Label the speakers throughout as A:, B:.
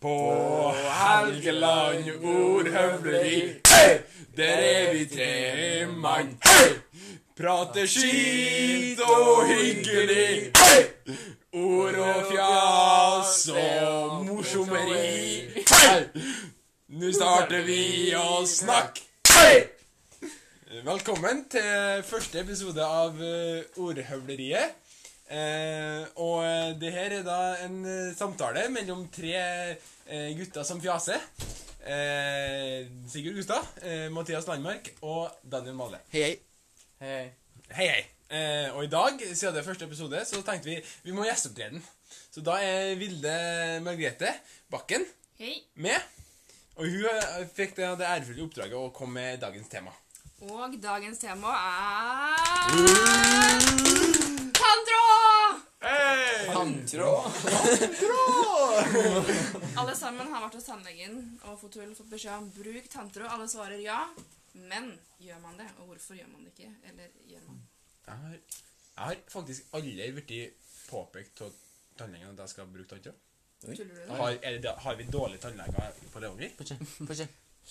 A: På Helgeland ordhøvleri, hei! Der er vi tre mann, hei! Prater skit og hyggelig, hei! Ord og fjas og morsommeri, hei! Nå starter vi å snakke, hei! Velkommen til første episode av eh, Ordhøvleriet. Eh, og eh, det her er da en eh, samtale mellom tre eh, gutter som fjaser. Eh, Sigurd Gustad, eh, Mathias Landmark og Daniel Male.
B: Hei, hei.
C: Hei.
A: Hei, hei. Eh, og i dag, siden det er første episode, så tenkte vi vi må gjesteopptre den. Så da er Vilde Margrethe Bakken
D: Hei,
A: med. Og hun eh, fikk det, det ærefulle oppdraget å komme med dagens tema.
D: og dagens tema er Tanntråd!
C: Tanntråd.
D: Alle sammen har vært hos tannlegen og fått, hull, fått beskjed om bruk tanntråd. Alle svarer ja. Men gjør man det? Og hvorfor gjør man det ikke? Eller gjør man
A: Jeg har, jeg har faktisk aldri blitt påpekt av tannlegen at jeg skal bruke tanntråd.
C: Oi.
D: Tuller du nå?
A: Har, er det, har vi dårlige tannleger på Levanger?
B: Få se. Få se.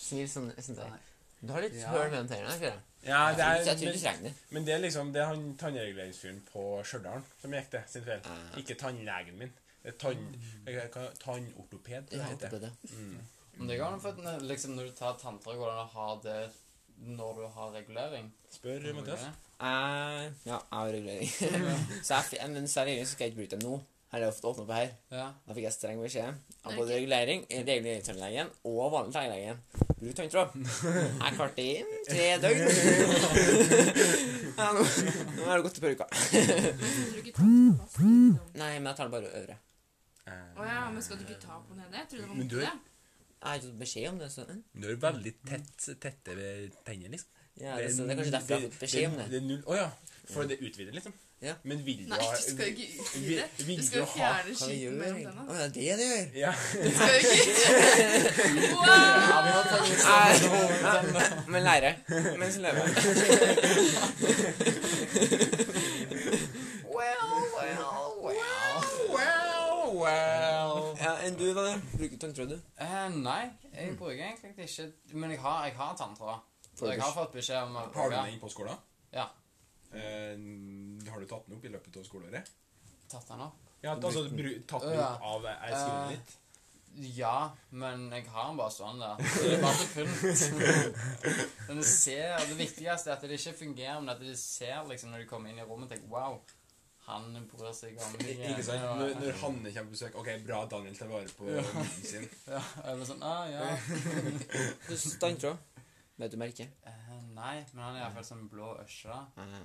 B: Smil sånn. sånn der.
C: Nei.
B: Du har litt
C: Ja.
B: høl mellom tennene. ikke det?
A: Ja, det
B: Jeg tror- jeg
A: er,
B: tror du
A: men,
B: trenger det.
A: men det er liksom det er han tannreguleringsfyren på Stjørdal som gikk det sin feil.
B: Ah. Mm.
A: Ikke tannlegen min. Det er tann, jeg- jeg- tannortoped. det
B: Ja,
A: heter det.
B: det er det.
C: Men det går an for at ne- liksom, når du tar tanntråd, går det an å ha det når du har regulering.
A: Spør Mathias.
B: Eh, ja, jeg har regulering. så jeg, fi- men seriøst skal jeg ikke bruke det nå. Her er det ofte åpnet på her.
C: Ja.
B: Da fikk jeg streng beskjed av
D: Ok.
B: både regulering, reguleringstannlegen og vanlig tannlegen. Bruk tanntråd. Jeg klarte det inn tre døgn. ja, nå, nå har det gått et par uker.
D: Men skal du ikke ta på plass?
B: Nei, men jeg tar det bare øvre.
D: Å ja, men skal du ikke ta på nede? Jeg trodde det var
A: Men
D: mot
A: du er-
D: det.
B: Jeg har ikke fått beskjed om det. så...
A: Eh, Du har veldig tett, tette ved tennene, liksom.
B: Ja, det, så det er kanskje derfor jeg har fått beskjed om det.
A: Det er null, Å ja. For det utvider, liksom.
B: Ja.
A: Men vil du
D: Nei,
A: ha
D: du skal jo ikke utvide.
A: Vi- vi
D: Du skal jo
A: vil jo ha-
D: fjerne
B: Hva gjør
D: skitten mellom
B: jeg? Å,
D: tennene.
B: det er det det gjør.
A: Ja.
D: Du skal jo ikke Wow!
B: Nei, Men lære mens du lever. well, well, well.
A: Wow, wow.
B: Ja, enn du, da? Bruker tanntråd, du?
C: Eh, nei, jeg bruker egentlig ikke Men jeg har, jeg har tanntråd. Så jeg har fått beskjed om å
A: Har du
C: bruke-
A: den inn på skolen?
C: Ja.
A: Eh, har du tatt den opp i løpet av skoleåret?
C: Tatt den opp?
A: Ja, altså bru, tatt den
C: Ja.
A: opp av eh, skolen
C: Eh,
A: ditt?
C: Ja, men jeg har den bare sånn der. Så Det er bare til pynt. Den ser, det viktigste er at det ikke fungerer, men at de ser liksom når de kommer inn i rommet, tenker wow, han bryr seg om hygiene,
A: Ikke sant?
C: og-
A: Når, når Hanne kommer på besøk Ok, bra, Daniel tar vare på munnen sin.
C: Ja, jeg var sånn, ah, ja.
B: Hvordan tanntråd? Vet du merket?
C: Eh, nei, men han er iallfall sånn blå øsje. da.
B: Mhm.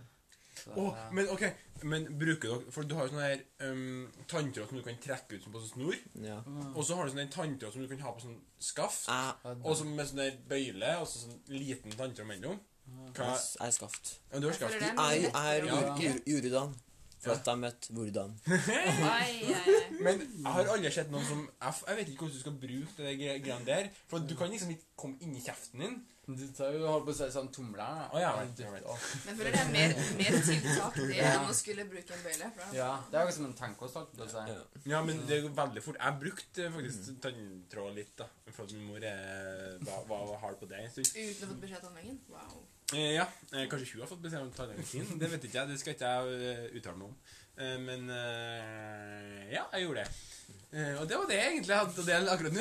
C: Så,
A: Å,
C: eh,
A: men ok, men bruker dere For du har jo sånn her um, tanntråd som du kan trekke ut som på sånn snor.
B: Ja. Ah,
C: mm.
A: Og så har du sånn en tanntråd som du kan ha på sånn skaft.
B: Jeg
A: Og så med sånn der bøyle og så sånn liten tanntråd mellom. Hva
B: jeg er skaft.
A: Ja, Du har skaft?
D: Føler
B: Jeg
D: det er mye
B: er
D: lettere å
C: Ja.
D: bruke.
B: Jordan. For
A: Ja.
B: at jeg møtte Jordan.
D: Ai, ai, ai.
A: Men jeg har aldri sett noen som Jeg, jeg vet ikke hvordan du skal bruke det gre- greiene der. For du kan liksom ikke komme inni kjeften din.
C: Du tar jo holdt på å si sånn tomler.
A: Å, ja,
C: Og
A: right,
C: dytter
A: right.
C: opp.
D: Men jeg føler det er mer, mer tiltak det
C: Ja.
D: enn å skulle bruke en bøyle. for da-
C: ja, det er jo som en tankekost, holdt jeg på å si.
B: Ja.
A: Ja, men det går veldig fort. Jeg brukte faktisk tanntråd litt, da. For at min mor eh, var, var hard på det en stund.
D: Uten å få beskjed av tannlegen. Wow.
A: Eh, ja, eh, kanskje hun har fått beskjed om tannlegen sin. Det vet ikke jeg. Det skal ikke jeg eh, uttale meg om. Eh, men eh, ja, jeg gjorde det. Eh, og det var det jeg egentlig hadde å dele akkurat nå.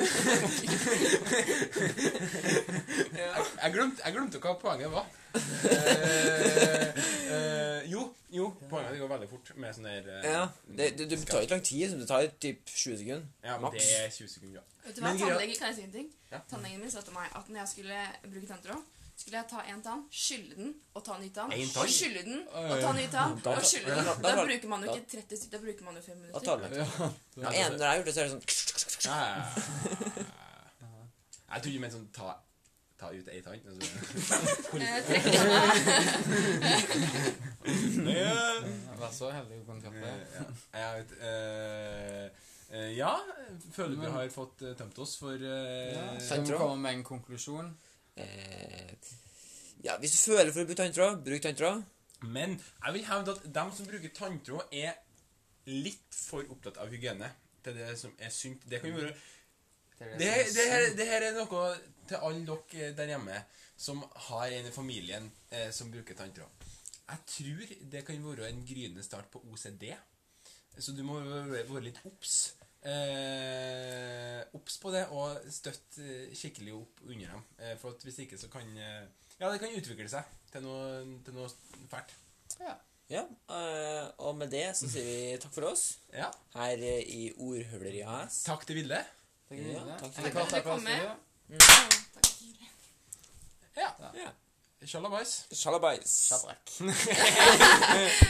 A: jeg, jeg, glemte, jeg glemte hva poenget var. Eh, eh, jo, jo, poenget det går veldig fort med sånn der eh,
B: Ja. Det, det, det tar ikke lang tid. så Det tar typ 20 sekunder.
A: ja, men det
B: maks.
A: er 20 sekunder. ja.
D: Vet du hva,
A: Men greia-
D: tannlegen kan jeg si en ting.
A: Ja.
D: Tannlegen min sa til meg at når jeg skulle bruke tanntråd, skulle jeg ta en tann, skylle den og ta en ny tann.
A: En tann?
D: Skylle den og
C: Oi.
D: ta en ny tann
B: Da-
D: og skylle
B: da-
D: den.
B: da-
D: Da bruker man jo ikke 30 stykker, da bruker man jo 5
B: Da
D: minutter.
B: tar det.
C: Ja.
B: Ja, en, når jeg har gjort det, så er det sånn
A: Ja, ja, ja. Jeg tror du mente sånn ta, ta ut ei altså. tann. og så-
D: Eh, trekk tanna.
A: Ja.
C: Jeg var så heldig å kunne gjort
A: Eh,
C: det.
A: ja. Jeg vet, eh, eh, ja, føler vi har fått eh, tømt oss for eh,
C: Ja,
A: ja.
C: Skal vi komme med en konklusjon?
B: Eh, Ja, hvis du føler for å bruke tanntråd, bruk tanntråd.
A: Men jeg vil hevde at dem som bruker tanntråd, er litt for opptatt av hygiene til det som er sunt. Det kan jo være
C: er
A: Det, her-
C: som er
A: det, her,
C: synd.
A: det her er noe til alle dere der hjemme som har en i familien eh, som bruker tanntråd. Jeg tror det kan være en gryende start på OCD, så du må være være litt obs. Eh, obs på det, og støtt eh, skikkelig opp under dem. Eh, for at hvis ikke, så kan eh, Ja, det kan utvikle seg til noe, til noe fælt.
C: Ja.
B: Ja, eh, og med det så sier vi takk for oss
A: Ja.
B: her eh, i Ordhøvleri AS.
A: Takk til Vilde.
C: Takk for
B: Ja,
C: det.
B: takk for
C: En
B: det.
C: kort
D: Takk for at
C: applaus
D: du kom
C: til
D: med.
C: du.
D: Takk.
A: Ja.
B: Ja.
A: Sjalabais.
B: Sjalabais.
C: Shabrak.